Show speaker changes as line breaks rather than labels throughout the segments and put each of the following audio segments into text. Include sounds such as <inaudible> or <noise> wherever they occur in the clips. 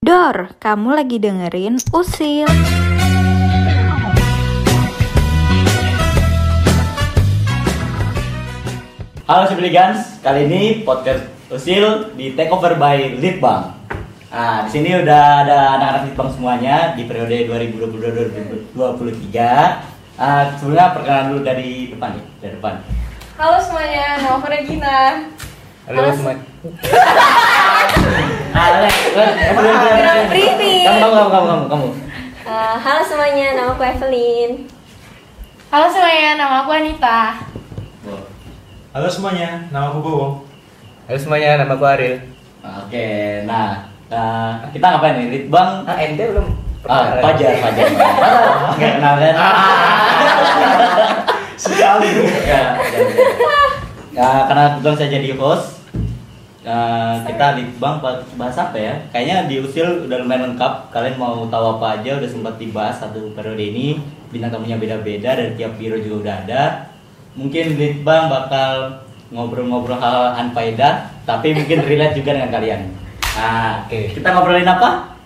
Dor, kamu lagi dengerin Usil.
Halo Sibligans, kali ini podcast Usil di takeover by Litbang. Nah, di sini udah ada anak-anak Litbang semuanya di periode 2022-2023. Ah, sebelumnya perkenalan dulu dari depan ya, dari depan.
Halo semuanya, nama aku Regina.
Halo semua.
<laughs> Alex,
Kurang briefing.
kamu, kamu, kamu, kamu, kamu, kamu.
Eh, halo semuanya, nama aku Evelyn.
Halo semuanya, nama aku Anita.
Halo semuanya, nama aku Bowo.
Halo semuanya, nama gue Aril.
Oke, nah, nah, kita ngapain nih? Litbang,
Ah, ente belum
ah, pajar, pajar, Nggak kenal kan?
Sekali.
ya, ya, ya. Ya, karena kebetulan saya jadi host ya, kita di bang bahas apa ya kayaknya di usil udah lumayan lengkap kalian mau tahu apa aja udah sempat dibahas satu periode ini bintang tamunya beda-beda dari tiap biro juga udah ada mungkin Litbang bakal ngobrol-ngobrol hal anfaedah tapi mungkin relate juga dengan kalian nah
Oke.
kita ngobrolin apa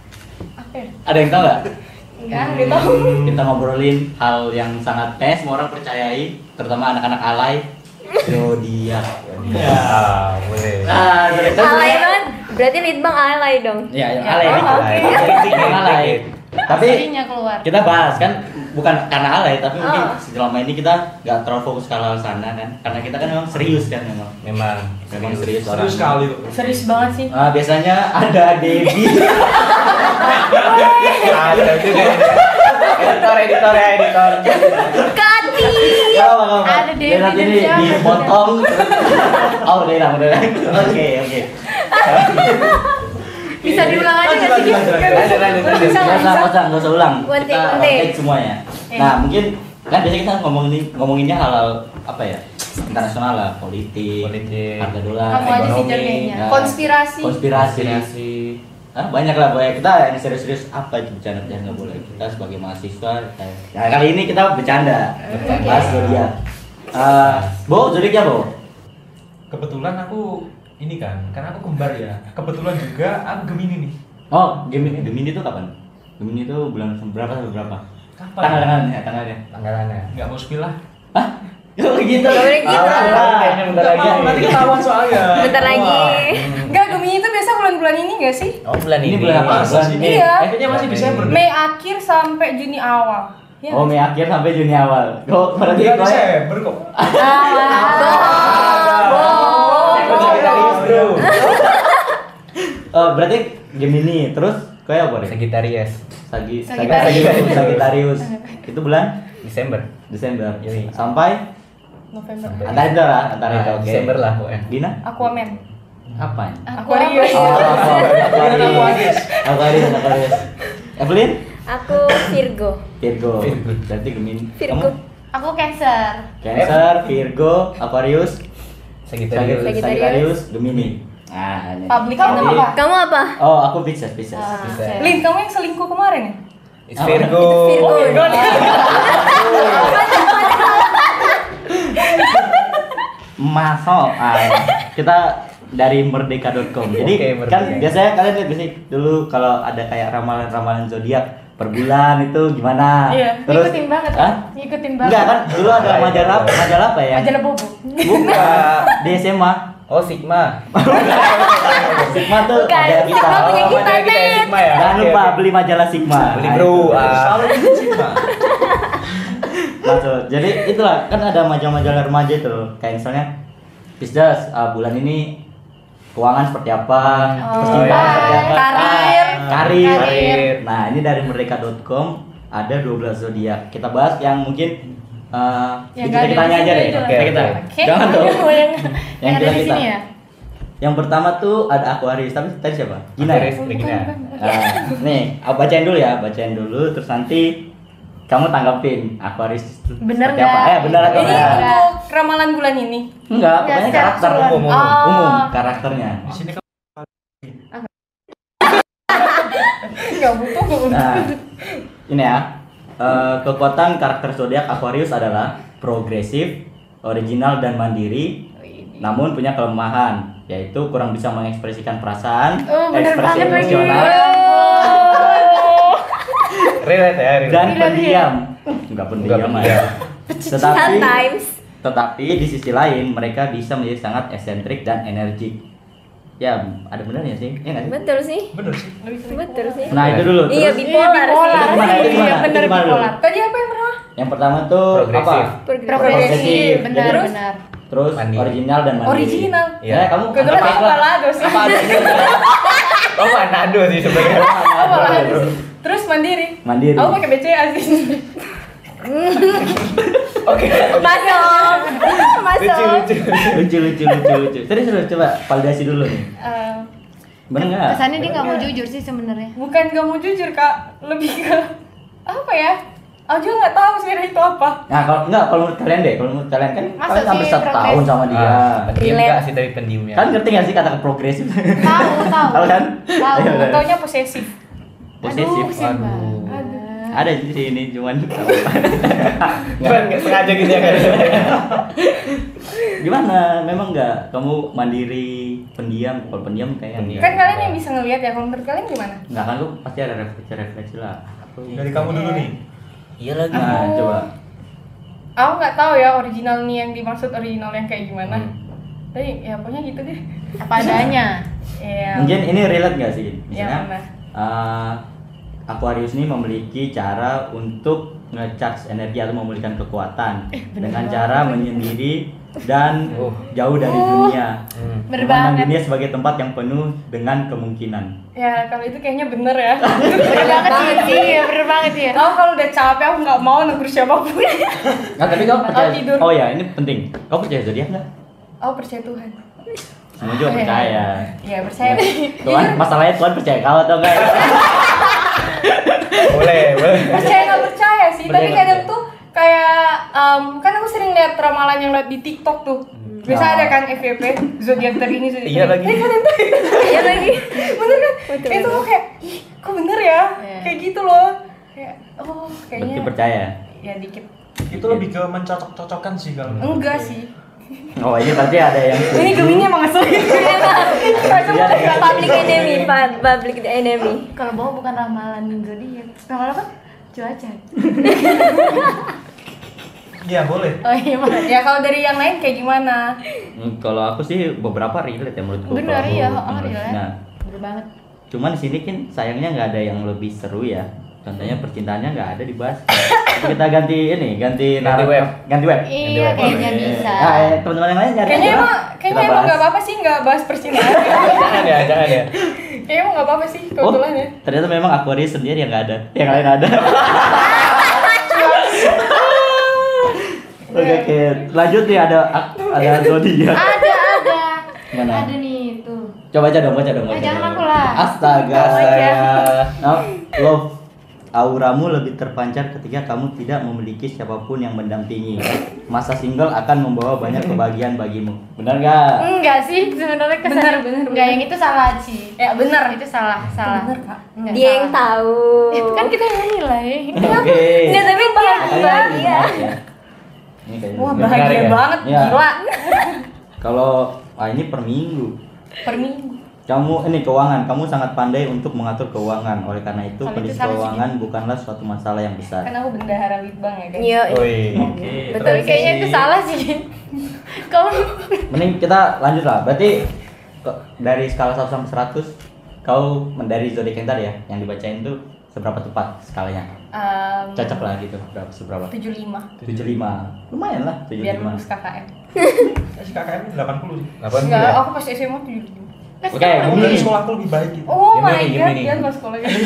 Oke.
ada yang tahu nggak
ya? Enggak, dia tahu.
kita ngobrolin hal yang sangat eh semua orang percayai terutama anak-anak alay zodiak
Ya.
Ah, boleh.
nah zodiak
Alay banget, berarti litbang alay dong.
ya ya, alay dikit.
Alay.
Dikit, alay tapi
Aslinya keluar.
kita bahas kan bukan karena alay tapi mungkin
Oh.
selama ini kita nggak terlalu fokus ke hal sana kan karena kita kan memang serius kan memang
Memang.
memang serius orang
Serius sekali loh.
Serius banget sih.
Ah, biasanya ada Debbie
<laughs> Ada juga. Editor, editor ya, editor.
Kati.
Gak apa-apa, gak apa-apa.
Ada Dewi
Dan nanti
dan
ini
siapa?
dipotong. <laughs> Oh, udah hilang, udah hilang. Oke, oke.
Bisa diulang aja nggak sih?
Lanjut, lanjut,
Nggak
lanjut.
bisa.
Lanjut,
Nggak
lanjut,
bisa,
Gak
nggak
usah, gak
bisa.
usah, gak usah ulang.
One
Kita
take, one
one
take.
take semuanya.
Iya.
Nah, mungkin kan biasanya kita ngomongin ngomonginnya halal apa ya? Internasional lah, politik,
Politik.
harga dolar,
Kamu aja sih
ekonomi,
jadinya.
ya.
Konspirasi.
konspirasi. Hah, banyak lah banyak kita yang serius-serius apa itu bercanda bercanda nggak boleh kita sebagai mahasiswa eh, nah kali ini kita bercanda bahas zodiak Eh, bo zodiak ya bo
Kebetulan aku ini kan, karena aku kembar ya. Kebetulan juga aku Gemini nih.
Oh, Gemini. Gemini itu kapan? Gemini itu bulan berapa sampai berapa?
Kapan?
Tanggal-tanggalnya, ya, tanggalnya.
Tanggalannya.
Nggak mau spill lah.
Hah? Kok gitu?
Gak boleh gitu.
kayaknya bentar
Nggak
lagi.
mau, nanti Oh, ketahuan soalnya.
Bentar lagi.
Nggak, Gemini itu biasa bulan-bulan ini nggak sih?
Oh, bulan
Ini bulan apa?
Masa sih?
Bulan
Iya.
Eh,
Kayaknya masih Desember. deh.
Mei akhir sampai Juni awal. Iya.
Oh, Mei akhir sampai Juni awal. Kok berarti
Bulan
kok ya?
Desember <laughs> kok.
Ah,
Kok jadi
Serius,
serius,
bro.
bro? Eh, berarti Gemini. Terus kayak apa deh?
Sagitarius.
Sagi
Sagittarius.
Sagittarius. Sagittarius. Itu bulan
Desember.
Desember.
Yoi.
Sampai
November.
Sampai-
antara itu lah, antara itu
Ah,
oke.
Desember lah pokoknya.
Gina?
Aquaman.
Apaan?
Aquarius.
Oh,
<laughs>
Bulan aku
Aquarius.
Agis.
Aquarius, Aquarius. Evelyn?
Aku Virgo.
Virgo.
Virgo.
Berarti Gemini.
Virgo.
Aku Cancer.
Cancer, Virgo, Aquarius,
Sagitarius.
Sagittarius, Sagittarius, Gemini. Nah, ini.
Public
Jadi-
kamu apa?
Kamu apa?
Oh, aku Pisces, Pisces.
Bisa.
Lin, kamu yang selingkuh kemarin ya?
It's Virgo.
Virgo.
Oh
Masuk. Ah, kita dari merdeka.com. Jadi
Oke, Merdeka.
kan biasanya kalian lihat biasanya dulu kalau ada kayak ramalan-ramalan zodiak per bulan itu gimana? Terus
ngikutin banget.
Hah?
Ngikutin banget.
Enggak kan dulu ada
Majalah.
majalah majalah apa ya?
Majalah bobo.
Bukan di SMA.
Oh,
<laughs>
Sigma.
Sigma tuh
Bukan,
majalah kita.
Sigma punya
Oh,
kita,
majalah ya,
Ted.
Sigma ya.
Jangan
Oke,
lupa
oke.
beli majalah Sigma.
Beli
Nah,
bro.
itu.
ah.
Salah ini Sigma.
Betul. Jadi itulah kan ada majalah-majalah remaja itu kayak misalnya Pisdas ah, bulan ini keuangan seperti apa,
Oh,
percintaan
iya.
seperti apa,
Karir.
Ah, karir.
Karir.
Nah, ini dari merdeka.com ada 12 zodiak. Kita bahas yang mungkin eh
Yang
kita
nggak ada
kitanya
di
aja
sini
deh.
aja lah.
Kita- kita.
Oke.
Jangan dong.
yang,
<laughs> Yang
yang ada di
kita-kita.
sini ya.
Yang pertama tuh ada Aquarius, tapi tadi siapa? Gina. ya?
Aquarius, Regina.
Ah, nih, aku bacain dulu ya, bacain dulu terus nanti kamu tanggapin Aquarius itu
Bener
seperti
nggak?
apa. Eh, bener atau
Ini
enggak?
untuk ramalan bulan ini.
Enggak,
Nggak
pokoknya
secara
karakter
keseluruhan.
umum,
Oh.
umum karakternya.
Di sini kamu
Enggak butuh gue <laughs>
Nah, ini ya. Eh, kekuatan karakter zodiak Aquarius adalah progresif, original dan mandiri,
Oh,
namun punya kelemahan yaitu kurang bisa mengekspresikan perasaan,
Oh, bener
ekspresi
banget lagi.
emosional,
Oh.
Relate ya,
dan
relate.
Bilang dia.
pendiam nggak pendiam ya tetapi
Sometimes.
tetapi di sisi lain mereka bisa menjadi sangat eksentrik dan energik ya ada benernya sih ya nggak sih
Betul sih.
Bener sih.
Betul sih.
nah itu dulu
Iya,
Terus
bipolar
bipolar.
sih.
Gimana,
Iya,
gimana,
bener
gimana dulu?
bipolar. Tadi apa yang pertama?
yang pertama tuh
Progresif.
apa
Progresif, benar
Terus?
benar.
terus
Mandiri.
original dan mandiri
Original.
Iya.
ya kamu
Kebetulan
apa-
aku balado sih.
Oh, Manado sih sebenarnya.
Aku balado sih. Terus mandiri.
Mandiri.
Aku pakai BCA
<laughs>
sih.
Oke.
Masuk.
Lucu,
Masuk.
lucu.
lucu lucu lucu lucu serius serius coba validasi dulu nih
Eh,
bener nggak
Kesannya dia nggak mau jujur sih sebenarnya.
bukan gak mau jujur kak, lebih ke apa ya? Aku juga nggak tahu sebenarnya itu apa.
nah kalau nggak kalau menurut kalian deh kalau menurut kalian kan
Masuk
kalian sampai
sih,
satu
progres.
tahun sama dia
Ah, pendiam
Relate.
nggak sih tapi pendiam ya.
kan ngerti nggak sih kata progresif <laughs>
Tahu, tahu.
Tahu kan?
Tahu.
Iya, benar.
Taunya posesif.
Aduh,
posesif
kesian
aduh.
banget.
ada di sini cuman <laughs>
Cuman nggak sengaja gitu ya kan.
gimana memang nggak kamu mandiri pendiam kalau pendiam kayak
Pendiam.
Kan kalian yang bisa ngelihat ya, kalau menurut kalian gimana?
nggak kan lu pasti ada refleksi refleksi lah Aku-
Dari kamu dulu nih.
Iya lagi.
nah coba
Aku nggak tahu ya original nih yang dimaksud original yang kayak gimana.
Hmm.
Tapi ya pokoknya gitu deh.
Apa adanya.
<laughs> Iya.
mungkin ini relate nggak sih misalnya
mana?
eh, Aquarius ini memiliki cara untuk ngecharge energi atau memulihkan kekuatan
Eh,
dengan cara menyendiri dan
Uh.
jauh dari dunia
Hmm.
Bener
Memandang
banget.
dunia sebagai tempat yang penuh dengan kemungkinan
Ya kalau itu kayaknya bener ya.
<laughs> Bener banget sih, iya, bener banget ya.
Aku kalau udah capek aku nggak mau negur siapapun.
nah, tapi kamu percaya
Oh, tidur.
oh ya ini penting kamu percaya zodiak nggak
Aku Oh, percaya Tuhan.
semua juga
Iya. <laughs>
percaya
Iya percaya.
Tuhan masalahnya Tuhan percaya kau atau enggak
Boleh, boleh.
percaya nggak percaya sih.
Percaya
Tapi
nggak
kadang
percaya?
tuh kayak em, kan aku sering lihat ramalan yang lihat di TikTok tuh. Biasa
Nah.
ada kan FYP zodiak terini zodiak.
Iya
terini.
lagi.
Eh, kadang tuh
Iya lagi.
<laughs> bener kan?
Betul,
itu
betul.
aku kayak ih kok bener ya?
Iya.
Kayak gitu loh. Kayak oh
berarti
kayaknya
percaya
ya dikit.
Itu lebih ke mencocok-cocokkan sih kalau.
Enggak sih.
oh ini berarti ada yang
Ini Gemini emang ngeselin. Kacau
Iya, iya.
Public enemy, Pan. public enemy.
Kalau bawa bukan ramalan zodiak. Ramalan apa? Cuaca.
Iya boleh.
Oh iya, Mas.
Ya kalau dari yang lain kayak gimana?
Hmm, kalau aku sih beberapa relate ya menurutku kalau
Bener
iya,
aku
ya, oh,
menurut-
relate.
nah
Bener banget.
cuman di sini kan sayangnya nggak ada yang lebih seru ya contohnya percintaannya nggak ada dibahas kita ganti ini ganti
Ganti
naruh-
web.
ganti web
Iya,
Yang
kayaknya
Oke.
bisa.
Nah, eh, teman-teman yang lain nyari
Kayaknya
aja lah.
emang kayaknya
Kita
emang
bahas.
nggak apa-apa sih nggak bahas
<laughs>
percintaan.
Jangan ya, jangan ya.
kayaknya emang nggak apa-apa sih
Oh,
kebetulan ya.
ternyata memang Aquarius sendiri yang nggak ada yang lain
<laughs>
ada oke oke lanjut nih ada ada zodiak
Ah,
Ada, ada.
Mana?
Ada nih tuh.
coba aja dong baca dong baca
Eh, jangan
dong.
aku lah.
astaga
Kamu aja.
Nah, love auramu lebih terpancar ketika kamu tidak memiliki siapapun yang mendampingi masa single akan membawa
<laughs>
banyak kebahagiaan bagimu benar nggak
Enggak sih, sebenarnya kesan.
Bener, bener,
Enggak,
bener.
yang itu salah sih.
Ya benar.
Itu salah, salah.
Bener kak.
Enggak,
Dia yang
salah.
tahu.
Itu kan kita yang nilai.
oke
Nah,
Iya.
tapi dia
iya.
bahagia.
ya. Ini kayaknya
Wah
benar.
bahagia
ya?
banget
Iya.
gila.
kalau ah, ini per minggu
Per minggu.
Kamu ini keuangan, kamu sangat pandai untuk mengatur keuangan. Oleh karena itu,
Kalau itu
kondisi
salah sih.
keuangan bukanlah suatu masalah yang besar.
Kan aku bendahara litbang ya guys.
Yo,
Oh, iya.
Woi.
Iya, Betul,
Tapi kayaknya itu salah
<laughs>
sih. Kamu
Mending kita lanjut lah. Berarti ke- dari skala 1 sampai 100, kau dari zodiak yang tadi ya, yang dibacain tuh seberapa tepat skalanya?
Em,
Cocok lah gitu, berapa seberapa?
75
75. Lumayan lah
biar lulus
75.
KKM.
Si KKM 80 sih.
Apa
Enggak,
oh.
aku pas SMA 75.
Oke,
Mungkin
Gemini.
sekolahku lebih baik gitu.
Oh
Gemini,
my god,
Gemini.
dia nggak sekolah
ya.
<laughs>
lagi.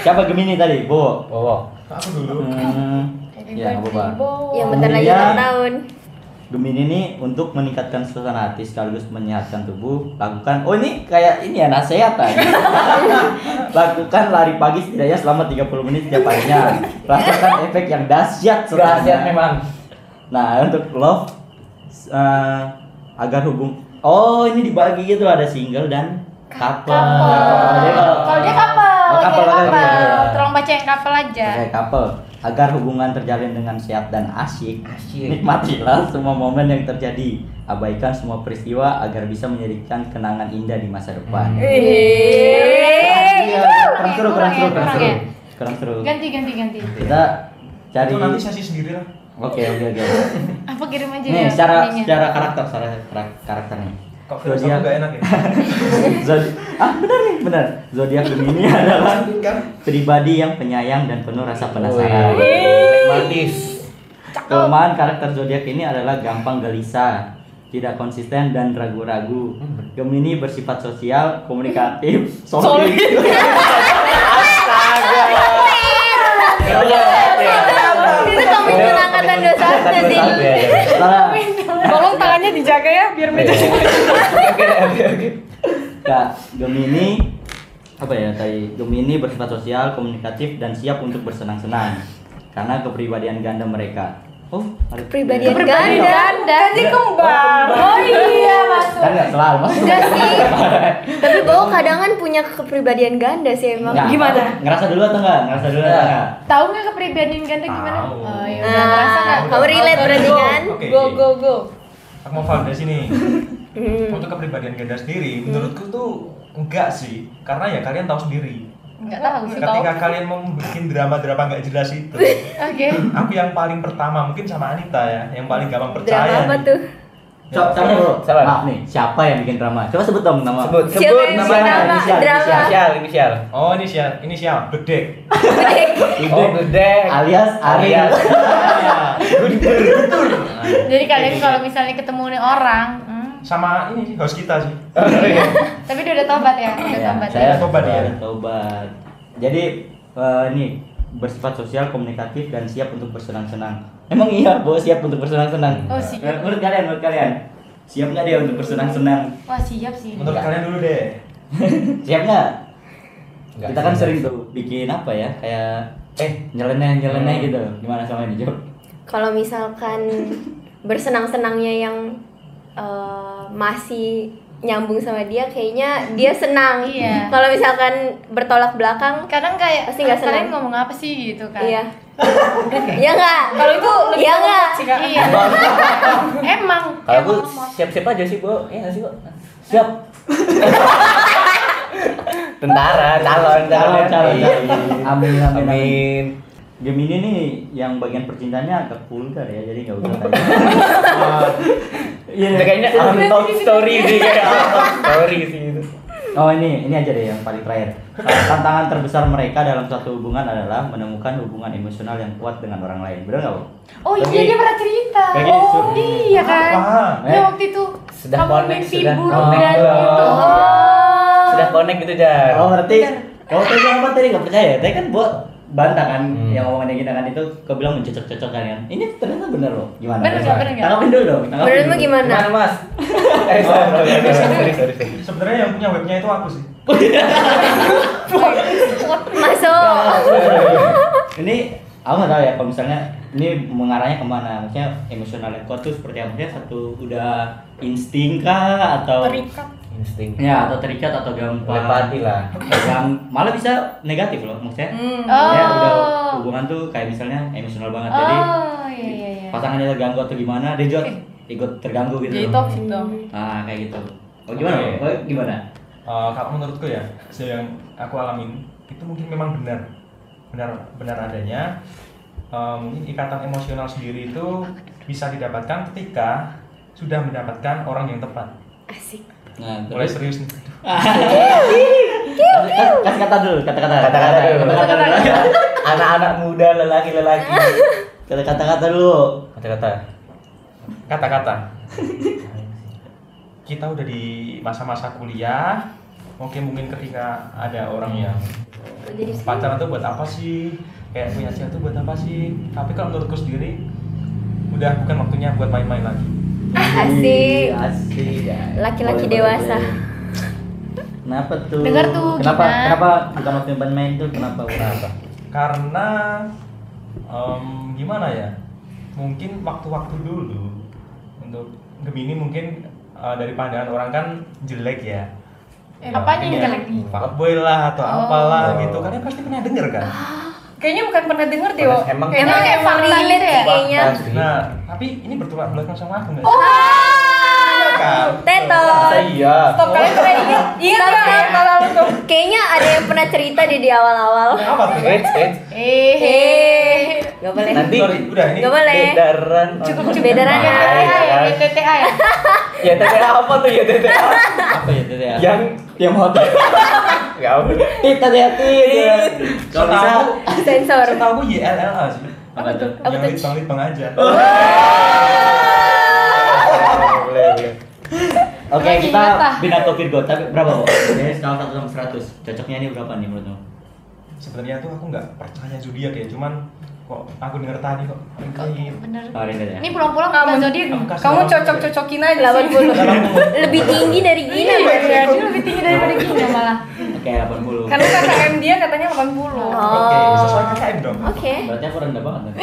Siapa Gemini tadi? Bo.
Wow.
Aku dulu.
Hmm, ya, nggak apa-apa.
yang bentar lagi
Iya.
ulang tahun.
Gemini ini untuk meningkatkan suasana hati sekaligus menyehatkan tubuh, lakukan oh ini kayak ini ya nasihat tadi. lakukan lari pagi setidaknya selama 30 menit setiap harinya. Rasakan efek yang dahsyat setelahnya.
Rahasia memang.
Nah, <laughs> untuk love s- eh, agar hubung Oh, ini dibagi gitu ada single dan couple.
Couple. ya?
Jadi kalau
Kalau dia kapal,
Oh,
dia
couple,
kapal.
couple, iya.
Tolong baca yang kapal aja.
Oke, couple agar hubungan terjalin dengan sehat dan asyik,
Asyik.
nikmatilah semua momen yang terjadi. Abaikan semua peristiwa agar bisa menjadikan kenangan indah di masa depan.
Hmm.
Iya,
Eh.
Iya.
Kurang seru, kurang seru, kurang
kurang
seru.
ya.
kurang seru.
Ganti ganti ganti.
Kita cari.
Itu nanti
Oke
sesi sendiri lah.
oke
<laughs>
oke.
Apa kirim aja
Nih
ya?
secara
linknya. <laughs>
secara karakter secara karak- karakternya.
Kok virus aku nggak enak ya?
Zod- ah benar nih benar. Zodiak Gemini adalah
kan?
pribadi yang penyayang dan penuh rasa penasaran.
Pragmatis.
Kelemahan karakter zodiak ini adalah gampang gelisah, tidak konsisten dan ragu-ragu. Gemini bersifat sosial,
<laughs>
komunikatif, solid.
Itu kami pun angkatan 21 sih.
<laughs> Salah.
Tolong tangannya dijaga ya biar
Iya.
meja
Nah, Gemini apa ya tadi? Gemini bersifat sosial, komunikatif dan siap untuk bersenang-senang karena kepribadian ganda mereka. Oh, ada-
Kepribadian
Pribadi
ganda.
ganda. Jadi kembar. Oh iya masuk.
Kan nggak selalu mas.
Enggak sih. Tapi Bowo kadang kan punya kepribadian ganda sih emang. Nah,
Nggak.
Gimana?
Ngerasa dulu atau enggak? Ngerasa dulu atau enggak?
Tahu nggak kepribadian ganda gimana?
Tahu.
Oh, iya, udah ngerasa nggak?
Nah, kamu relate berarti kan?
Oke.
Go go go.
Aku mau validasi nih.
Hmm.
Untuk kepribadian ganda sendiri, menurutku tuh enggak sih. Karena ya kalian tahu sendiri.
Nggak tahu sih tahu.
Ketika kalian mau bikin drama-drama nggak jelas
<laughs>
itu,
Oke.
aku yang paling pertama mungkin sama Anita ya, yang paling gampang
Drama
percaya.
apa
nih.
tuh?
Coba
Ya,
sama dulu.
Sabar.
Maaf nih, siapa yang bikin drama? Coba sebut dong nama.
Sebut,
Siapa
sebut
yang
namanya.
drama?
Inisial,
Drama.
Inisial, inisial.
Oh ini siapa? Ini siapa? Bedek.
Oh, gede.
Alias <laughs> Iya. Ariel.
Jadi kalian kalau misalnya ketemu nih orang, hmm,
Sama ini host kita
<laughs>
sih.
tapi dia udah tobat ya, udah
Ya,
tobat.
saya
Ya.
Tobat ya.
Tobat. Jadi eh, ini bersifat sosial, komunikatif dan siap untuk bersenang-senang. Emang iya, bahwa siap untuk bersenang-senang.
Oh, siap.
Eh, Menurut kalian, menurut kalian, siap nggak dia untuk bersenang-senang?
Wah siap sih.
Menurut kalian dulu deh.
Siap nggak?
Nggak,
Kita kan
nggak.
sering tuh bikin apa ya, kayak
Eh,
nyeleneh nyeleneh
Hmm.
gitu. Gimana sama ini, Jok?
Kalau misalkan bersenang-senangnya yang eh, masih nyambung sama dia kayaknya dia senang.
Iya.
Kalau misalkan bertolak belakang
Kadang kayak
Pasti nggak
kalian
senang.
ngomong apa sih gitu kan?
Iya. Iya enggak? Kalau itu iya enggak?
Iya. emang.
kalau aku
emang ngomong.
siap-siap aja sih, Bu. Iya nggak sih, Bu? Siap. Tentara, calon,
Calon,
calon,
calon,
Iya.
calon. Amin, amin, amin.
Amin.
Gemini nih yang bagian percintaannya agak vulgar ya, jadi nggak usah tanya. <laughs> Iya.
Itu kayaknya on top story sih kayak on top story sih itu.
Oh ini, ini aja deh yang paling terakhir. Tantangan terbesar mereka dalam suatu hubungan adalah menemukan hubungan emosional yang kuat dengan orang lain. Benar nggak, Bu?
Oh iya
Lagi-
dia pernah cerita.
lagi
Oh
disuruh-
iya kan.
Apa?
Ya
Eh.
waktu itu
Sudah
kamu
connect,
mimpi
sudah.
buruk
Oh.
dan itu. Oh.
Sudah connect gitu,
Oh
Jar.
berarti kamu tadi apa tadi nggak percaya? ya? Tadi kan buat bantah kan
Hmm.
yang omongannya kita kan itu kau bilang mencocok-cocokkan kan. Ini ternyata bener loh. Gimana?
Bener nggak? Bener nggak?
Tanggapin dulu dong. tanggapin
Menurutmu
dulu.
gimana?
Gimana, Mas? <laughs> Eh, sorry, sorry, sorry, sorry, sorry.
Sebenarnya yang punya webnya itu aku sih.
Masuk.
<laughs> Ini aku nggak tahu ya kalau misalnya ini mengarahnya kemana? Maksudnya emosional yang kuat tuh seperti apa? Maksudnya satu udah insting kah atau
Terikat.
Insting.
ya atau terikat atau gampang?
Telepati lah.
yang malah bisa negatif loh maksudnya
Oh.
ya udah hubungan tuh kayak misalnya emosional banget jadi
Oh iya iya iya. Eh.
pasangannya terganggu atau gimana dia juga ikut terganggu gitu
Jadi
loh.
toxic dong.
nah kayak gitu oh gimana
Oke.
Boy? gimana
Eh, kalau menurutku ya, yang aku alamin itu mungkin memang benar, benar, benar adanya. Eh, mungkin ikatan emosional sendiri itu bisa didapatkan ketika sudah mendapatkan orang yang tepat.
Asik.
nah
Mulai
terus
serius nih.
kasih kas- kasih kata dulu kata-kata
Kata-kata dulu.
kata-kata dulu
Anak-anak muda
<laughs>
lelaki-lelaki.
kata-kata kata dulu
Kata-kata.
Kata-kata. Kita udah di masa-masa kuliah. Mungkin mungkin ketika ada orang yang
Jadi
pacaran tuh buat apa sih kayak punya cewek tuh buat apa sih tapi kalau menurutku sendiri udah bukan waktunya buat main-main lagi
Asik.
asik
Iya.
Boleh,
Laki-laki
boleh,
dewasa.
boleh. Kenapa tuh?
Dengar tuh,
Kenapa?
Gina.
Kenapa bukan waktu main-main tuh? Kenapa? Kenapa?
karena em, gimana ya mungkin waktu-waktu dulu untuk Gemini mungkin eh, dari pandangan orang kan jelek ya
Eh, apanya yang
Iya.
jelek nih?
fuckboy lah atau apalah
Oh.
gitu kalian pasti pernah denger kan
Kayaknya bukan pernah denger deh, Wo.
Emang-
Kayaknya kayak
emang
fakta
relate
gitu ya.
sih
Iya.
kayaknya.
Pasti.
Oh.
nah tapi ini bertolak belakang sama aku nggak sih?
Wah.
Iya kan? kan?
Tetot.
iya.
Stop kalian pernah ingat ingat nggak
Iya,
yang tahun lalu tuh?
Kayaknya ada yang pernah cerita deh di awal-awal.
Apa tuh?
Eits, eits.
Eh,
Eh, gak boleh.
Nanti
Sorry, udah ini.
Gak boleh.
Bedaran.
Cukup cukup bedaran
Iya,
ya.
Nah,
TTA ya,
kan?
TTA ya.
Ya TTA apa tuh ya TTA?
Apa ya Tete ya?
Yang
yang hotel.
enggak apa.
Tit hati-hati. Tit. Kalau bisa
Setahu
Sensor.
setahu gue YLL sih.
apa tuh?
Apa
Yang
tuh?
litbang litbang aja.
Boleh, boleh.
Oke,
Lagi
kita
ingat, ah.
binato Virgo. Tapi berapa, Bo? Dari skala 1 sampai 100. Cocoknya ini berapa nih menurut lo?
Sebenarnya tuh aku nggak percaya zodiak ya, cuman kok aku denger tadi kok gitu. ini
Bener.
Kemarin aja.
Ini pulang-pulang
Kamu-
kamu zodiak.
kamu kasih
Kamu
dalam-
cocok-cocokin aja sih.
<laughs>
80. Lebih tinggi dari Gina.
Iya, dia lebih tinggi daripada Gina malah.
Oke, 80.
Kan-
Karena KKM dia katanya 80.
Oke,
Oh.
sesuai KKM dong.
Oke.
Berarti aku rendah banget.
<laughs>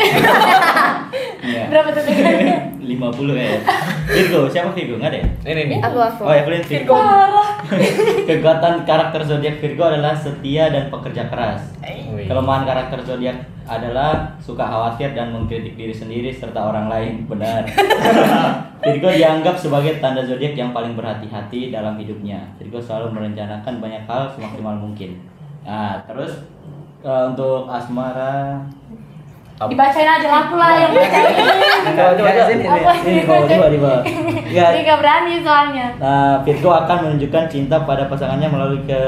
Iya.
Berapa tuh tegangannya?
50 ya. Virgo, siapa Virgo? Enggak deh.
Ini nih.
Aku aku.
Oh, Evelyn <laughs> Virgo. Kekuatan karakter zodiak Virgo adalah setia dan pekerja keras.
Wih.
Kelemahan karakter zodiak adalah suka khawatir dan mengkritik diri sendiri serta orang lain.
<laughs>
Benar. Virgo dianggap sebagai tanda zodiak yang paling berhati-hati dalam hidupnya. Virgo selalu merencanakan banyak hal semaksimal mungkin. Nah, terus eh, untuk asmara
Dibacain aja lah aku lah yang
Coba coba coba. sini, sini.
Apa?
ini di bawah, di bawah, di
<laughs>
bawah.
Ya,
Dia gak berani soalnya.
Iya. Nah, Virgo akan menunjukkan cinta pada pasangannya melalui ke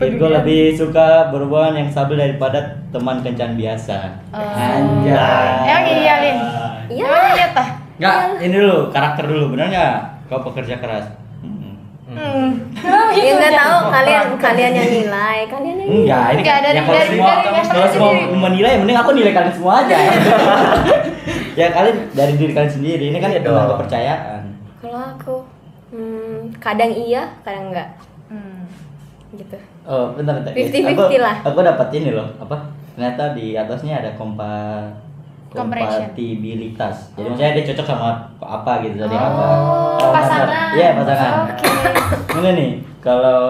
Virgo
Pedulian.
lebih suka berhubungan yang stabil daripada teman kencan biasa.
Oh.
Anjay.
Yang iya, Lin.
Iya.
Ah,
Emang iya tah?
Enggak, ini dulu karakter dulu, benar nggak? Kau pekerja keras. Hmm.
Hmm.
Ya nggak tahu kalian kalian yang nilai, kalian yang nilai.
Enggak, ini
Enggak,
kan-
dari-
ya kalau
dari-
semua
dari level
kalau semua
sendiri.
menilai mending aku nilai kalian semua
<laughs>
aja. <laughs> ya kalian dari diri kalian sendiri. Ini kan
Iya
tentang
dong.
kepercayaan.
Kalau aku, hmm, kadang iya, kadang enggak.
Hmm.
Gitu.
Oh, bentar bentar.
50-50
aku,
lah.
Aku dapat ini loh, apa? Ternyata di atasnya ada kompa
Compression.
kompatibilitas. Jadi maksudnya dia cocok sama apa gitu dari
Oh,
apa?
pasangan.
pasangan. Iya, pasangan.
Oke.
Ini nih, kalau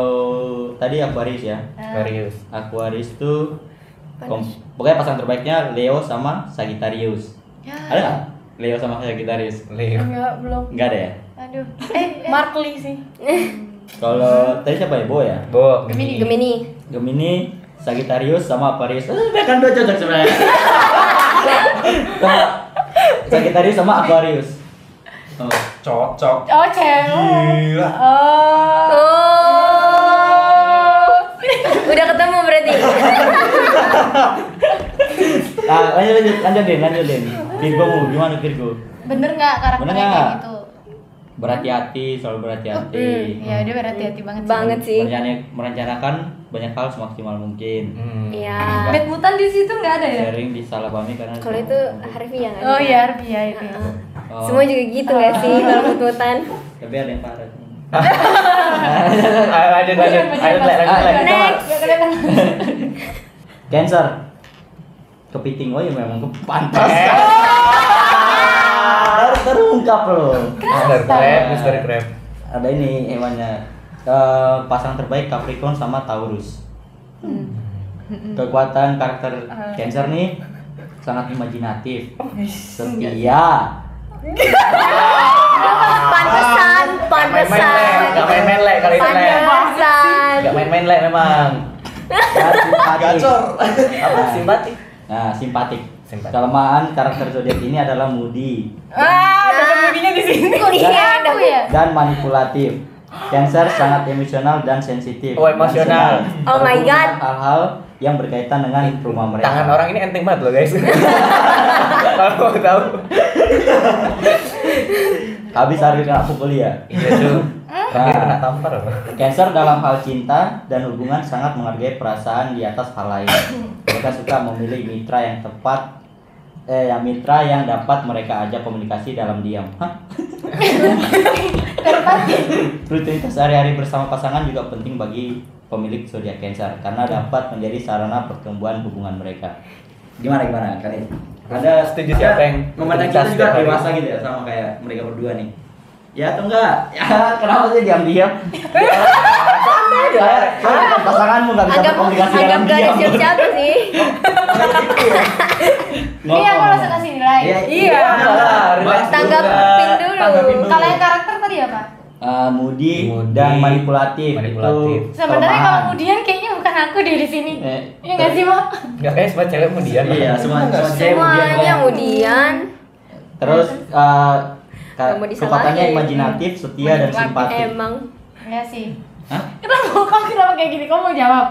tadi Aquarius ya.
Aquarius.
Aquarius tuh kom- pokoknya pasangan terbaiknya Leo sama Sagittarius. Ada nggak? Leo sama Sagittarius.
Leo.
Enggak, belum.
Enggak ada ya.
Aduh. Eh, Markley sih.
Kalau tadi siapa ya? Bo ya.
Bo.
Gemini. Gemini.
Gemini, Sagittarius sama Aquarius. Eh, dia kan dua cocok sebenarnya.
<laughs>
sama Sagittarius sama Aquarius. Oh.
Cocok.
Oh,
Iya.
cewek.
Gila.
Oh.
Oh. Udah ketemu berarti.
Nah, lanjut lanjut lanjut Din, lanjut Din. Virgo mau gimana Virgo?
Bener nggak karakternya
Bener
kayak
nggak?
gitu?
Berhati-hati, selalu berhati-hati.
Iya, dia berhati-hati banget. sih.
Banget sih.
Merencana- merencanakan banyak hal semaksimal mungkin.
Hmm.
Iya.
Bad mutan di situ nggak ada ya?
Sharing disalahpahami karena
Kalau itu Harvey yang
Oh iya, Arbi ya itu.
Oh.
Semua juga gitu gak sih kalau tuntutan?
Tapi ada yang parah.
Ayo lanjut lanjut. Ayo lanjut lanjut. lanjut.
Next.
Cancer. Kepiting oh ya memang pantas.
Eh.
Ter- terungkap loh.
<laughs>
Mister Crab, Mister Crab.
ada ini hewannya Eh, pasang terbaik Capricorn sama Taurus
Hmm.
kekuatan karakter
Eh.
Cancer nih sangat imajinatif setia
Pantesan, pantesan.
Gak main-main lek kali ini lek.
Pantesan.
Gak main-main lek memang.
dan simpatik Iya.
Apa simpati?
nah simpatik
Simpatik.
kelemahan karakter zodiak ini adalah moody
Ah, dapat mudinya di sini.
Kok iya aku ya?
dan manipulatif Cancer sangat emosional dan sensitif.
Oh, emosional.
Dan senang
Oh my
terhubung
God.
dengan Hal-hal yang berkaitan dengan rumah mereka.
Tangan orang ini enteng banget loh guys. Kalau mau tahu.
Habis hari Nah, kena pukul ya.
Iya tuh.
Hmm.
Terakhir kena tampar loh.
Cancer dalam hal cinta dan hubungan sangat menghargai perasaan di atas hal lain. Mereka suka memilih mitra yang tepat, eh, yang mitra yang dapat mereka ajak komunikasi dalam diam. Hah? Rutinitas sehari-hari bersama pasangan juga penting bagi pemilik zodiak Cancer karena dapat menjadi sarana pertumbuhan hubungan mereka. Gimana gimana kalian? Ada
Setuju siapa yang
memandang kita
rutinitas setiap
juga
hari?
dewasa gitu ya sama kayak mereka berdua nih? Ya atau enggak? <laughs> Ya, kenapa sih diam-diam? Saya saya pasanganmu nggak bisa
Anggap
berkomunikasi
anggap
dalam
gak ada
diam.
siapa-siapa sih.
Ngomong.
Iya, aku langsung kasih nilai.
Iya,
Iya.
iya.
Sabar,
Mas,
Tanggapin dulu.
Tanggapin dulu.
Kalau yang karakter tadi
eh, mudi,
Mudi,
dan manipulatif,
manipulatif.
itu
Sebenarnya kalau
kelemahan.
kemudian kayaknya bukan aku deh di sini.
Eh,
Iya nggak sih, Mak?
Enggak kayak semua cewek kemudian.
iya semua semua cewek kemudian
Semuanya
ya.
kemudian
terus eh, ka-
Nggak mau disalahin.
kekuatannya imajinatif setia dan
Manipulatif.
simpati
emang
Enggak sih.
Hah?
Kenapa kamu kenapa kayak gini? Kamu mau jawab?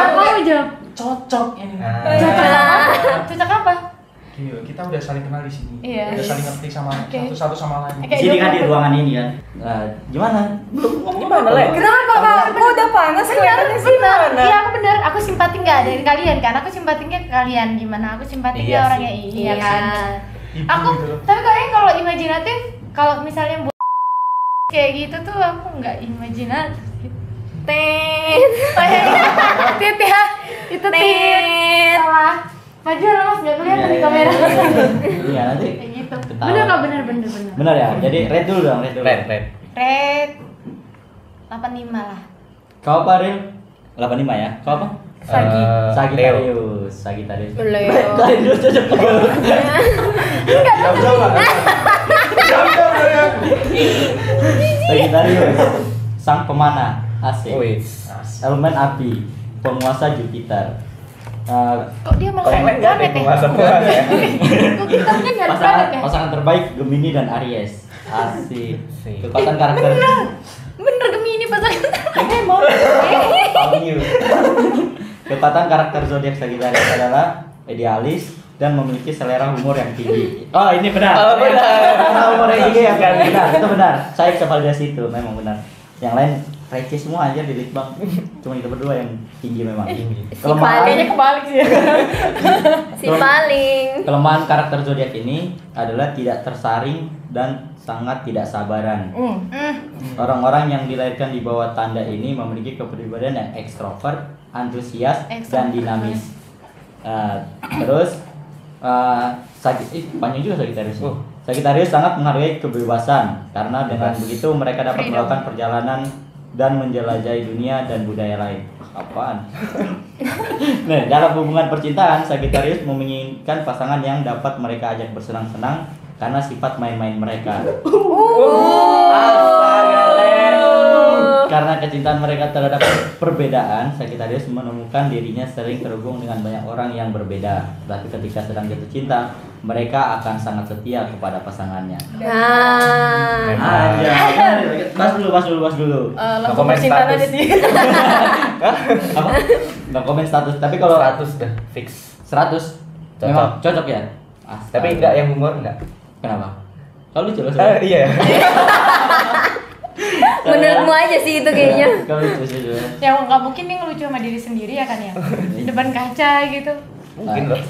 Aku mau jawab.
Cocok ini.
Nah,
Cocok apa? Cocok apa?
Gini loh, kita udah saling kenal di sini.
Iya.
Udah saling ngerti sama
Oke.
satu satu sama lain.
di
Kayak
sini
gitu. dua
kan di
puluh.
ruangan ini kan Nah, gimana belum ngomong
Gimana, Le?
kenapa kakak aku udah panas
Benar, benar. Iya, aku benar. Aku simpati nggak dari kalian kan? Aku simpatinya ke kalian gimana? Aku simpati
Iya
ke orangnya iya
iya
kan?
Ibu
Aku
gitu loh.
tapi kayaknya kalau imajinatif, kalau misalnya buat kayak gitu tuh aku nggak imajinatif.
tet
Oh, iya, iya. Tit ya, itu tit.
tet
Salah. Maju lah mas, nggak kelihatan di kamera.
<laughs> iya nanti
Kayak gitu.
Ketawa.
Bener nggak bener bener bener.
benar ya jadi red dulu dong red dulu
red, red.
Red 85 lah.
kau apa Ril 85 ya kau apa
Sagi.
Eh, Leo.
Sagitarius Sagitarius
Leo.
kalian dulu cocok
Jauh jauh Ya lah. Jauh jauh lah.
Sagitarius sang pemanah asik
Wih.
elemen api penguasa Jupiter Eh,
Kok dia malah
Kalian enggak ada yang penguasa puasa ya?
<laughs> Kok kita kan
Iya,
pasangan,
nggak ada planet ya?
pasangan terbaik Gemini dan Aries asik
Asik.
kekuatan karakter
Iya.
Bener Gemini pasangan. Eh.
Ayu. kekuatan karakter zodiak Sagittarius adalah idealis dan memiliki selera humor yang tinggi oh ini benar
Oh, benar.
selera humor yang tinggi ya kan benar itu benar saya validasi itu memang benar yang lain receh semua aja di litbang cuma itu berdua yang tinggi memang
Kayaknya
kelemahan
kebalik sih.
<laughs> si paling
kelemahan karakter zodiak ini adalah tidak tersaring dan sangat tidak sabaran
Hmm.
Hmm.
Hmm. Orang-orang yang dilahirkan di bawah tanda ini memiliki kepribadian yang ekstrovert, antusias, dan
Ekstrovert. ya.
dinamis. Eh, terus eh Sagi- ih, panjang juga Sagittarius.
Oh.
Sagittarius sangat menghargai kebebasan karena dengan
Bebas.
begitu mereka dapat
Freedom.
melakukan perjalanan dan menjelajahi dunia dan budaya lain.
<laughs>
Apaan? Nih, dalam hubungan percintaan, Sagittarius menginginkan pasangan yang dapat mereka ajak bersenang-senang karena sifat main-main mereka.
Astaga, Leo.
Karena kecintaan mereka terhadap perbedaan, Sagittarius menemukan dirinya sering terhubung dengan banyak orang yang berbeda. Tapi ketika sedang jatuh cinta, mereka akan sangat setia kepada pasangannya.
nah
Memang.
Bas dulu, bas dulu, bas dulu.
Eh,
Nggak
langsung
komen
percintaan
status.
aja sih.
Apa? Nggak komen status, tapi kalau
100 dah fix.
100
Cocok.
memang cocok ya? Astaga.
Tapi enggak yang humor enggak.
Kenapa? Kalau lucu loh.
Eh,
sebenarnya.
iya.
menurutmu aja sih itu kayaknya
Kalau lucu sih sebenarnya.
Ya nggak mungkin nih ngelucu sama diri sendiri ya kan ya. Di Depan kaca gitu.
<laughs> Mungkin loh.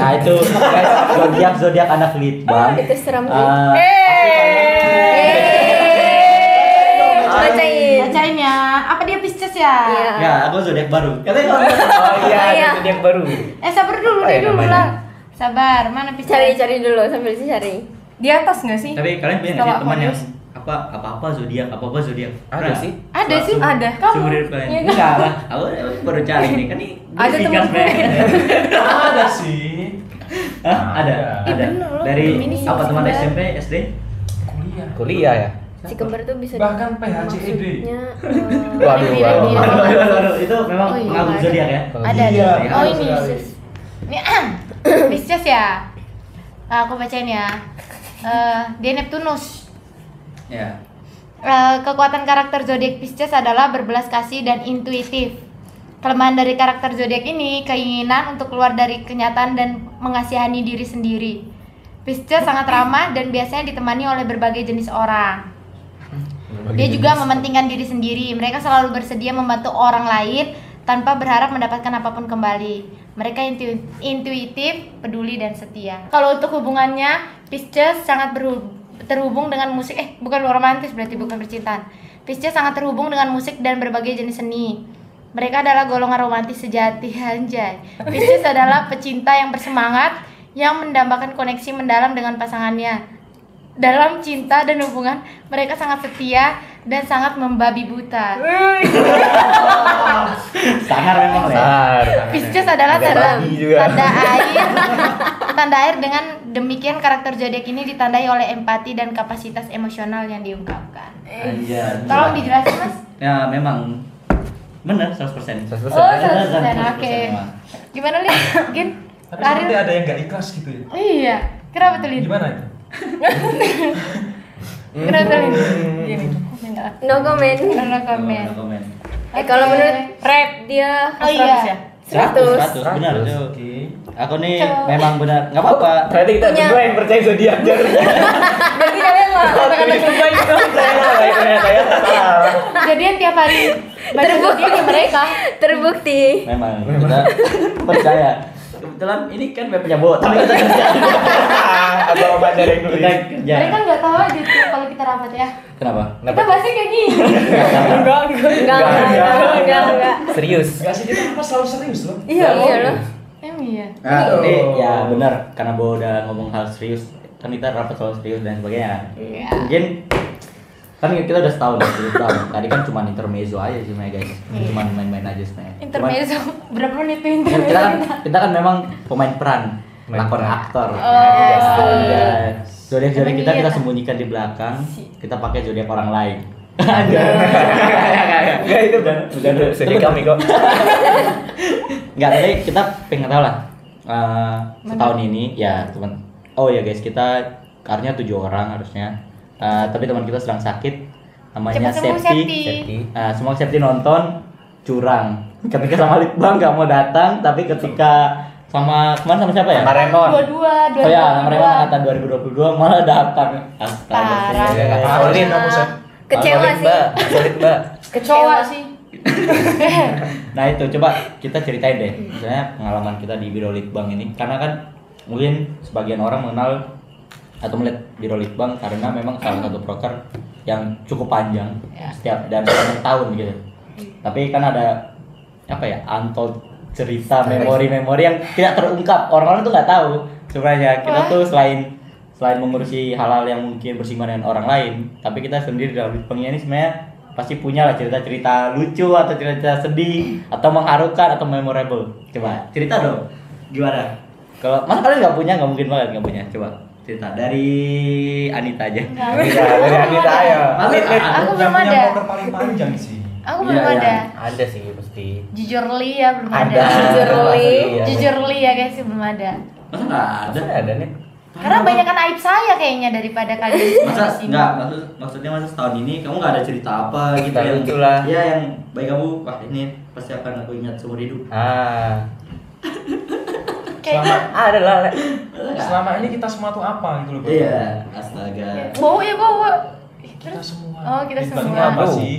Nah, itu guys, zodiak-zodiak anak litbang.
Oh, itu seram sih
Eh,
Eh, bacain
Bacain ya. Apa dia Pisces ya?
Iya.
ya, aku zodiak baru. Katanya kalau
Oh iya,
Iya.
itu dia yang baru.
Eh sabar dulu
Apa
deh
ya
dulu
namanya?
lah. Sabar, mana Pisces?
cari cari dulu sambil dicari
Di atas nggak sih?
Tapi kalian punya nggak
Kalau
sih teman
aku
yang
harus-
apa apa apa zodiak apa apa zodiak?
Ada
Pernah?
sih.
Ada sih,
Seumur-
ada. Kamu?
Seumur hidup kalian.
Iya,
Enggak lah, aku baru cari nih kan ini.
Ada
ini
temen
singkat,
gue.
Nek.
Ada sih.
Hah? Ada,
Ih,
ada.
bener loh,
Dari
Gemini sih,
apa teman
bener.
SMP, SD?
Kuliah.
Kuliah ya.
si kembar tuh bisa
Bahkan PHCED.
maksudnya eh,
Waduh, waduh.
Ini, ini,
Aduh,
ini.
aduh, aduh, aduh. Itu memang
Oh, iya,
pengaruh
ada.
zodiak ya.
Ada, ada.
Iya,
Oh,
ada
ini
sekali.
Nih, Pisces ya. Ah, aku bacain ya. Eh, dia Neptunus.
Ya.
Eh, kekuatan karakter zodiak Pisces adalah berbelas kasih dan intuitif. Kelemahan dari karakter zodiak ini keinginan untuk keluar dari kenyataan dan mengasihani diri sendiri. Pisces sangat ramah dan biasanya ditemani oleh berbagai jenis orang. Dia juga mementingkan diri sendiri. Mereka selalu bersedia membantu orang lain tanpa berharap mendapatkan apapun kembali. Mereka intu- intuitif, peduli dan setia. Kalau untuk hubungannya, Pisces sangat berhub- terhubung dengan musik. Eh, bukan romantis berarti bukan percintaan. Pisces sangat terhubung dengan musik dan berbagai jenis seni. Mereka adalah golongan romantis sejati <laughs> anjay. Pisces adalah pecinta yang bersemangat yang mendambakan koneksi mendalam dengan pasangannya. Dalam cinta dan hubungan, mereka sangat setia dan sangat membabi buta.
Sangar memang ya.
Besar.
Pisces adalah
Ada
tanda,
babi juga.
tanda air, tanda air dengan Demikian karakter zodiak ini ditandai oleh empati dan kapasitas emosional yang diungkapkan.
Anjir.
Tolong dijelasin mas.
Ya memang benar 100%. 100%.
Oh, 100%,
kan?
oke. Gimana li? Gin?
Tapi
Lari?
seperti ada yang nggak ikhlas gitu ya.
Iya. Kenapa tuh Lin?
Gimana itu?
Kenapa tuh Lin?
Gini.
No comment.
Karena komen.
Komen. Komen.
Eh kalau menurut rap dia ya?
Oh iya.
100, 100,
100.
benar
Oke.
tuh. Aku nih
Coba.
memang benar. Enggak apa-apa.
Berarti kita
Punya-
berdua yang percaya zodiak jar.
Berarti kalian lah
Kata-kata kita <laughs> itu percaya lah, baik ternyata ya. Salah.
Jadian tiap hari. Baca zodiak ke mereka.
terbukti.
Memang kita percaya. Kebetulan ini kan webnya bot. Tapi kita kerja.
Atau Ah, apa ada yang nulis?
Kita kerja.
kan Mereka nggak tahu aja tuh kalau kita rapat ya.
Kenapa?
Kita bahasnya kayak gini.
Enggak,
Enggak enggak enggak enggak. enggak.
Serius.
Gak sih Nah, kita kenapa selalu serius loh?
Iya iya loh.
<laughs> Emang iya.
Nah,
Aduh.
ini ya benar karena Bo udah ngomong hal serius kan kita rapat soal serius dan sebagainya.
Iya.
Mungkin kan kita udah setahun, ya, udah setahun. Tadi kan cuma intermezzo aja sih sebenarnya guys, cuma main-main aja sebenarnya. Cuman-
Iya. Intermezzo. Berapa menit tuh
Kan kita
intermezzo?
kan kita kan memang pemain peran,
Main
lakon
peran.
aktor.
Yes.
Zodiak zodiak kita
Emang
kita
iya.
sembunyikan di belakang, kita pakai zodiak orang lain. Enggak,
Enggak itu bukan. Bukan zodiak kami kok.
tapi kita pengen tahu lah eh, setahun ini ya teman. Oh ya guys, kita karnya tujuh orang harusnya. Eh, tapi teman kita sedang sakit, namanya
Cepat sembuh
Septi.
Septi.
Nah, semua Septi nonton curang. Ketika sama Litbang nggak mau datang, tapi ketika sama kemarin sama siapa ya?
Sama Raymond.
Dua-dua, dua-dua.
Oh ya, mereka
dua-dua.
angkatan 2022 malah datang. Astaga.
Parah.
saya.
Ah, Solid aku
Ah,
Sep.
Kecewa
Solid,
sih.
Mbak. Solid, Mbak.
Kecewa
Iya.
sih.
Nah itu coba kita ceritain deh, misalnya pengalaman kita di Biro Litbang ini, karena kan mungkin sebagian orang mengenal atau melihat Biro Litbang karena memang salah satu proker yang cukup panjang setiap dan setiap tahun gitu. Tapi kan ada apa ya untold cerita memori-memori yang tidak terungkap orang-orang tuh nggak tahu sebenarnya kita tuh selain selain mengurusi hal-hal yang mungkin bersinggungan dengan orang lain tapi kita sendiri dalam litbangnya ini sebenarnya pasti punya lah cerita-cerita lucu atau cerita sedih atau mengharukan atau memorable coba cerita dong gimana kalau masa kalian nggak punya nggak mungkin banget nggak punya coba cerita dari Anita aja
Nggak.
Anita, dari Anita ayo.
Aku-
Lid, Lid.
Aku
Yang
belum
punya
ada.
poker paling panjang sih.
Aku
Iya,
belum
iya.
ada.
Ada sih pasti.
Jujur li ya belum ada.
Jujur, Li.
Jujur li ya guys sih belum ada.
masa nggak ada
Ada iya. ada nih.
Karena banyak kan aib saya kayaknya daripada kalian.
masa
di sini.
nggak maksud maksudnya masa setahun ini kamu nggak ada cerita apa gitu
Cerita
yang
lucu lah.
ya yang baik kamu wah ini pasti akan aku ingat seumur hidup
Ah.
Kayaknya
Ada lah. Le.
Iya, Selama ini kita semua tuh apa gitu loh. Bang?
iya astaga
bau ya bau. Ih,
Kita
Terus
semua.
Oh, kita
Kita
semua.
apa
Oh.
sih?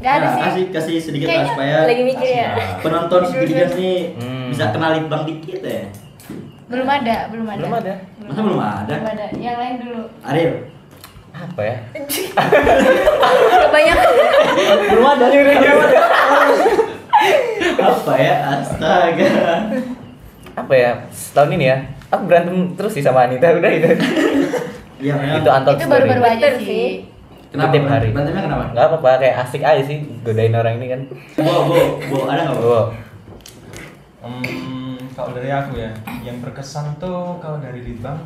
nggak ada
Nah,
sih.
kasih kasih sedikit lah
Kayaknya
supaya
Lagi mikir ya.
penonton sedikit nih
Hmm.
bisa kenal litbang dikit ya
Belum ada, belum ada.
Belum ada.
masa belum ada
Belum ada. Yang lain dulu.
Ariel
Apa ya?
Kebanyakan
belum ada belum ada apa ya astaga
Apa ya? Setahun ini ya. Aku berantem terus sih sama Anita udah itu.
ya memang.
itu antar
Itu baru-baru aja
Bener
sih.
sih.
kenapa
tiap hari.
berantemnya kenapa
Enggak apa-apa kayak asik aja sih godain orang ini kan.
bo bo bo ada nggak bo
Wow.
Hmm, kalau dari aku ya, yang berkesan tuh kalau dari Litbang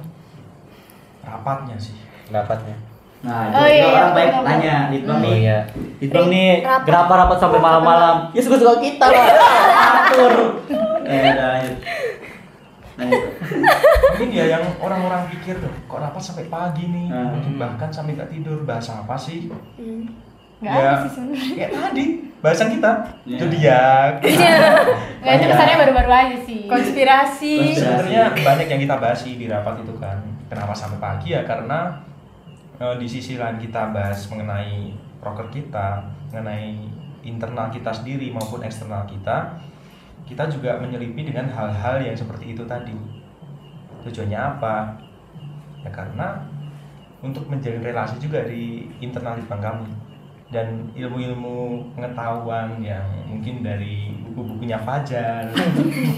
rapatnya sih.
Pendapatnya.
nah
Oh,
itu
iya,
orang
iya,
baik
iya.
nanya litbang
Oh
nih
iya.
Litbang nih
Rapat.
kenapa rapat sampai malam-malam? <laughs> Ya suka-suka kita lah. Atur. <laughs> Eh, udah lanjut. Lanjut.
Mungkin ya yang orang-orang pikir tuh, kok rapat sampai pagi nih,
Hmm.
Mungkin bahkan sampai nggak tidur bahasa apa sih?
Hmm. Nggak
Ya.
ada sih sebenarnya.
Ya tadi bahasan kita
Iya.
zodiak.
Iya. Nggak itu kesannya baru-baru aja sih.
Konspirasi.
Konspirasi.
Sebenarnya banyak yang kita bahas sih di rapat itu kan. Kenapa sampai pagi ya? Karena eh, di sisi lain kita bahas mengenai proker kita, mengenai internal kita sendiri maupun eksternal kita, kita juga menyelipi dengan hal-hal yang seperti itu tadi. Tujuannya apa? Ya karena untuk menjalin relasi juga di internal litbang kami dan ilmu-ilmu pengetahuan yang mungkin dari buku-bukunya Fajar,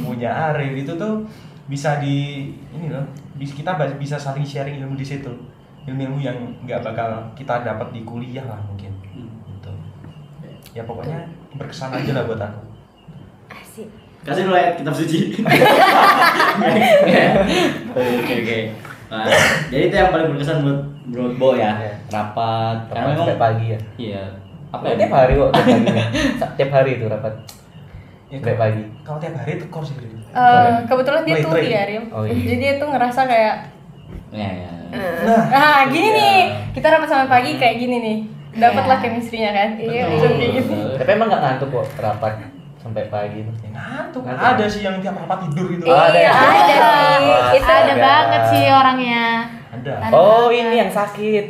bukunya Arif itu tuh bisa di ini loh, bis- kita ba- bisa saling sharing ilmu di situ. Ilmu-ilmu yang nggak bakal kita dapat di kuliah lah mungkin. Gitu. Ya pokoknya berkesan aja lah buat aku.
eh,
asik.
Kasih dulu ayat kitab suci.
<laughs> Oke oke. Nah, jadi itu yang paling berkesan buat buat Bo ya.
Iya.
Rapat. Karena
Rapat
memang
sampai pagi ya.
iya. Apa
Apa
ya?
tiap hari kok tiap pagi. Sa- tiap hari itu rapat. Sampai pagi.
Ya Kalau tiap hari itu kursi gitu.
Eh, kebetulan dia
Play
tuh
train.
ya, Rim.
Oh, iya.
Jadi dia tuh ngerasa kayak
Iya iya.
Nah,
ah gini
Iya.
nih, kita rapat sampai pagi kayak gini nih. Dapatlah chemistry-nya kan. Iya,
Betul,
kayak gitu.
betul.
Tapi emang nggak ngantuk kok rapat sampai pagi itu.
Iya,
ya ngantuk.
Ngantuk.
Ada sih yang tiap rapat tidur gitu.
Oh, ada
Iya,
ya?
ada sih.
Oh,
Itu
ada
ada.
banget sih orangnya
Kan Ada.
Oh ini yang sakit.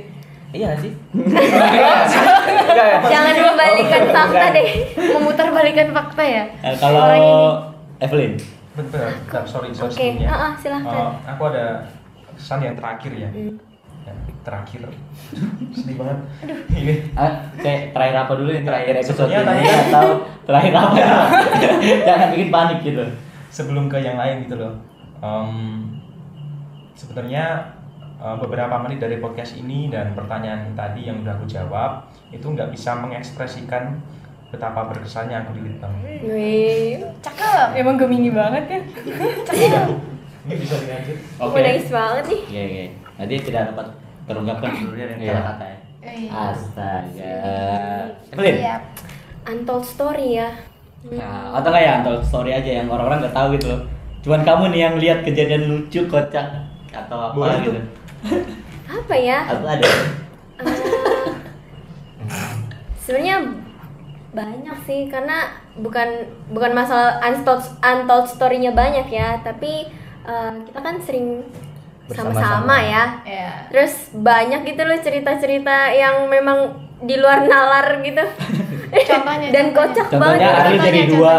Iya nggak sih. Enggak ya?
Jangan membalikan fakta deh.
memutarbalikan fakta ya
Eh, kalau
Orang ini.
Evelyn,
Bentar, bentar, sorry, sorry
Oke,
sebelumnya.
ah, ah, silahkan.
Eh, aku ada kesan yang terakhir ya. Yang terakhir. <laughs> Sedih banget. <laughs> Ini
ah, kayak terakhir apa dulu yang terakhir episode ini
Iya, tanya.
atau terakhir <laughs> apa? ya? Jangan bikin panik gitu.
sebelum ke yang lain gitu loh. Em, Sebenarnya eh, beberapa menit dari podcast ini dan pertanyaan tadi yang udah aku jawab itu nggak bisa mengekspresikan betapa berkesannya aku di Litbang.
Wih,
Cakep, emang gemini banget ya.
Ini bisa dilanjut.
aku nangis banget nih.
Iya iya. Nanti tidak dapat terungkapkan sebenarnya dengan
Iya.
kata-kata ya. Astaga.
Iya.
Evelyn.
Siap.
Untold story ya.
Nah, atau nggak ya atau story aja yang orang-orang nggak tahu gitu. Cuman kamu nih yang lihat kejadian lucu kocak atau apa
Boleh
gitu.
Apa ya?
Atau ada.
Eh, sebenarnya banyak sih karena bukan bukan masalah untold untold story-nya banyak ya tapi eh, kita kan sering
Bersama-sama.
sama-sama ya
Iya.
terus banyak gitu loh cerita-cerita yang memang di luar nalar gitu
Contohnya,
dan
contohnya.
kocak
Contohnya
banget
Ari
Contohnya,
jadi
contohnya.
dua.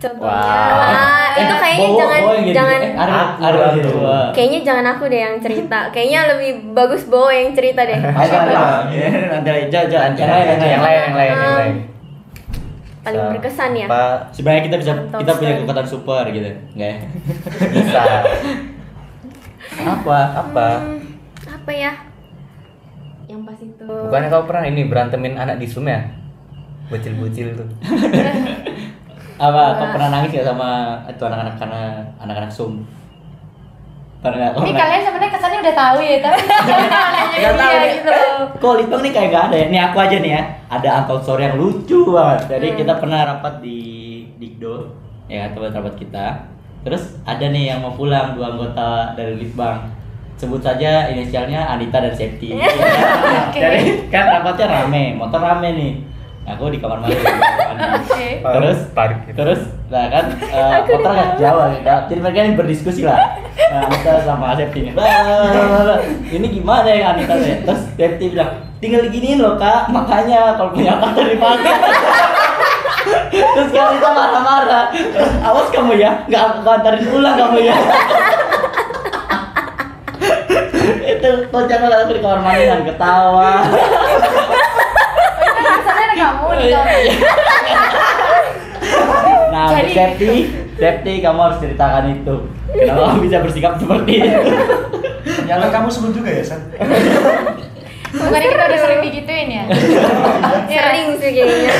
contohnya
Wah. Eh,
Ah, itu kayaknya
Bowo-
jangan
Bowo yang jadi-
jangan
eh, Ari Ari
Aku
jadi
Ah, tuh.
dua.
kayaknya jangan aku deh yang cerita kayaknya lebih bagus Bowo yang cerita deh
Ayo, ayo,
Siapa?
ayo. Nanti aja, aja, aja.
Yang lain, yang lain, yang lain, yang lain, yang lain.
paling berkesan ya
Pak
Sebenarnya kita bisa
Mantap
kita punya
sekali.
kekuatan super gitu, nggak ya?
bisa
Apa?
apa?
apa ya yang pas itu
Bukannya kau pernah ini berantemin anak di Zoom ya? Bocil-bocil tuh.
Apa? Kau pernah nangis nggak sama itu anak-anak karena anak-anak sum? Pernah nggak? Kau
ini
pernah-
kalian sebenarnya kesannya udah tahu ya
<laughs>
tapi <laughs> jangan nanya
Gak tahu ya.
dia
nih.
gitu loh
Kok Litbang nih kayak gak ada ya? Nih aku aja nih ya, ada angkot sore yang lucu banget. Jadi
Hmm.
kita pernah rapat di Dikdo, ya tempat rapat kita. Terus ada nih yang mau pulang dua anggota dari Litbang. Sebut saja inisialnya Anita dan
<laughs>
Septi. Jadi kan rapatnya rame, motor rame nih. Aku di kamar
<laughs>
mandi.
Oke.
terus
Tarik gitu.
terus nah kan eh, motor nggak jauh gitu. jadi mereka ini berdiskusi lah nah, Anita sama Septi ini "Bah, bah, bah, bah, bah. ini gimana ya Anita nih terus Septi bilang tinggal diginiin loh kak makanya kalau punya otak tuh dipakai <laughs> terus kan Anita marah-marah awas kamu ya nggak aku antarin pulang kamu ya <laughs> itu kocak banget aku di kamar mandi kan ketawa
Kan kesannya ada kamu
Oh,
di kamar.
iya. Nah, untuk
Jadi-
safety, safety kamu harus ceritakan itu. Kenapa kamu bisa bersikap seperti itu?
Ternyata kamu sebut juga ya, San?
bukannya kita udah sering digituin
<laughs>
ya Iya.
sering sih kayaknya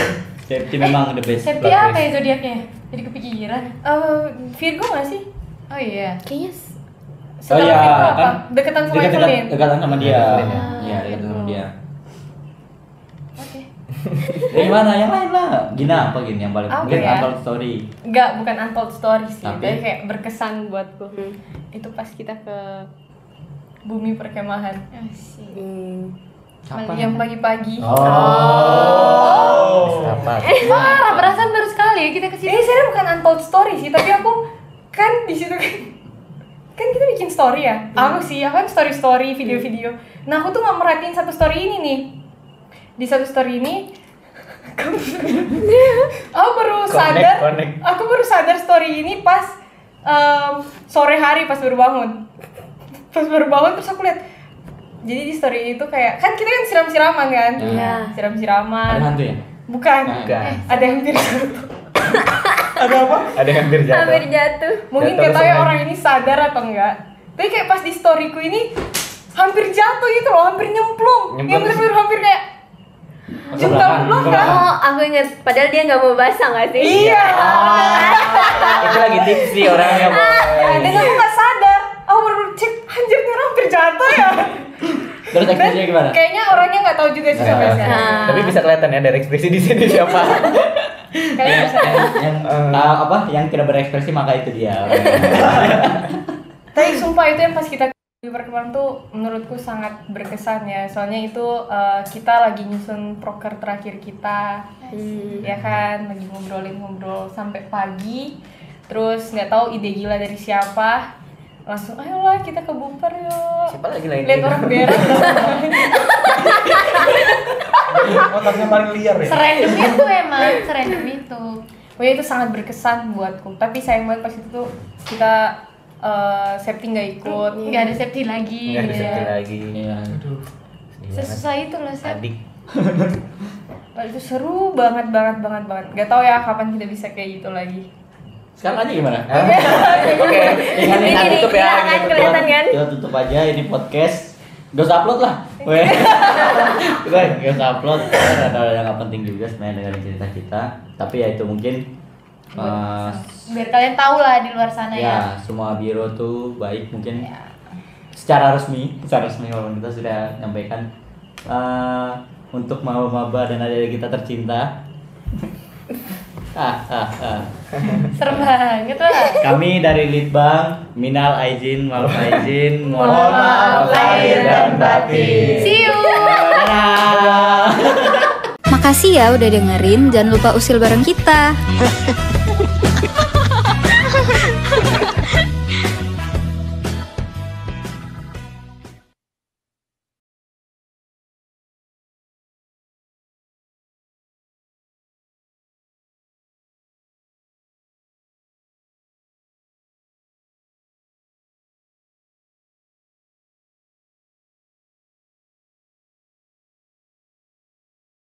Safety memang the best. Oh,
Septi apa ya zodiaknya jadi kepikiran
Eh, Virgo gak sih?
oh iya
kayaknya s-
Oh
Setelah
iya,
Virgo apa?
kan
Deketan sama
dekat-dekat-
Evelyn. Ah,
dekatan sama dia.
Evelyn
ya.
Iya, dekatan sama dia.
Oke.
Dari mana? <laughs> Yang lain lah. Gina apa gini yang paling
Apa
mungkin
ya?
atau story.
Enggak, bukan untold story sih,
Tapi?
tapi, kayak berkesan buatku. Itu pas kita ke bumi perkemahan.
hmm.
Yang pagi-pagi.
Oh.
Oh.
Rapat.
Eh, parah perasaan baru sekali ya kita kesini
Ini Eh, sebenarnya bukan untold story sih, tapi aku kan di situ kan kan kita bikin story ya.
Hmm.
Aku sih, aku kan story story, video-video. Nah aku tuh nggak merhatiin satu story ini nih. Di satu story ini,
<laughs>
aku baru
Connect,
sadar,
connect.
aku baru sadar story ini pas em, sore hari pas baru bangun. Pas baru bangun terus aku lihat. Jadi di story itu kayak kan kita kan siram-siraman kan?
Iya.
Siram-siraman.
Ada hantu ya?
Bukan.
Bukan.
Eh, ada yang hampir
Ada apa?
Ada yang hampir jatuh.
hampir jatuh
mungkin
Jatuh
gak tahu ya
sama
orang ini sadar atau enggak tapi kayak pas di storyku ini hampir jatuh gitu loh hampir nyemplung
Nyemplung.
yang bener-bener hampir kayak
Jumpa lu kan?
Oh, aku inget. Padahal dia nggak mau basah nggak sih?
Iya.
itu lagi tipsy orangnya
Nah, dan
boy
aku nggak sadar. Aku baru cek, anjir nih orang hampir jatuh ya.
terus
Kan
ekspresinya gimana
Kayaknya orangnya nggak tahu juga sih sampai sekarang.
Nah.
tapi bisa kelihatan ya dari ekspresi di sini siapa Nah.
Kayaknya bisa.
yang ah, apa yang tidak berekspresi maka itu <laughs> dia
Tapi sumpah itu yang pas kita di perkenalan tuh menurutku sangat berkesan ya. Soalnya itu eh, kita lagi nyusun proker terakhir kita.
Hmm.
ya kan lagi ngobrolin ngobrol sampai pagi terus nggak tahu ide gila dari siapa langsung ayolah kita ke bumper yuk
siapa lagi lain
lihat orang
<laughs>
berak
<laughs> Otaknya paling liar ya.
serandom itu emang serandom itu
oh ya itu sangat berkesan buatku tapi sayang banget pas itu tuh kita eh safety nggak ikut
nggak ada safety lagi
nggak ada
Iya.
satu lagi Iya.
Aduh.
sesusah itu loh Sep.
adik
Wah, itu seru banget banget banget banget nggak tahu ya kapan kita bisa kayak gitu lagi
sekarang aja gimana
<laughs> oke
Ini,
ini
ini,
tutup
iya,
ya
kan, kelihatan kan?
kita tutup aja ini podcast Gak usah upload lah Weh <laughs> Kita gak usah upload Karena ada yang gak penting juga sebenarnya dengerin cerita kita Tapi ya itu mungkin eh,
biar kalian tahu lah di luar sana ya
Ya semua biro tuh baik mungkin
Iya.
Secara resmi Secara resmi walaupun kita sudah nyampaikan eh, Untuk maba-maba dan adik-adik kita tercinta <laughs> ah, ah, ah.
serem banget lah
Kami dari Litbang Minal Aizin Wal Aizin Mohon
maaf lahir dan batin.
see you
Dadah.
Makasih ya udah dengerin, jangan lupa usil bareng kita.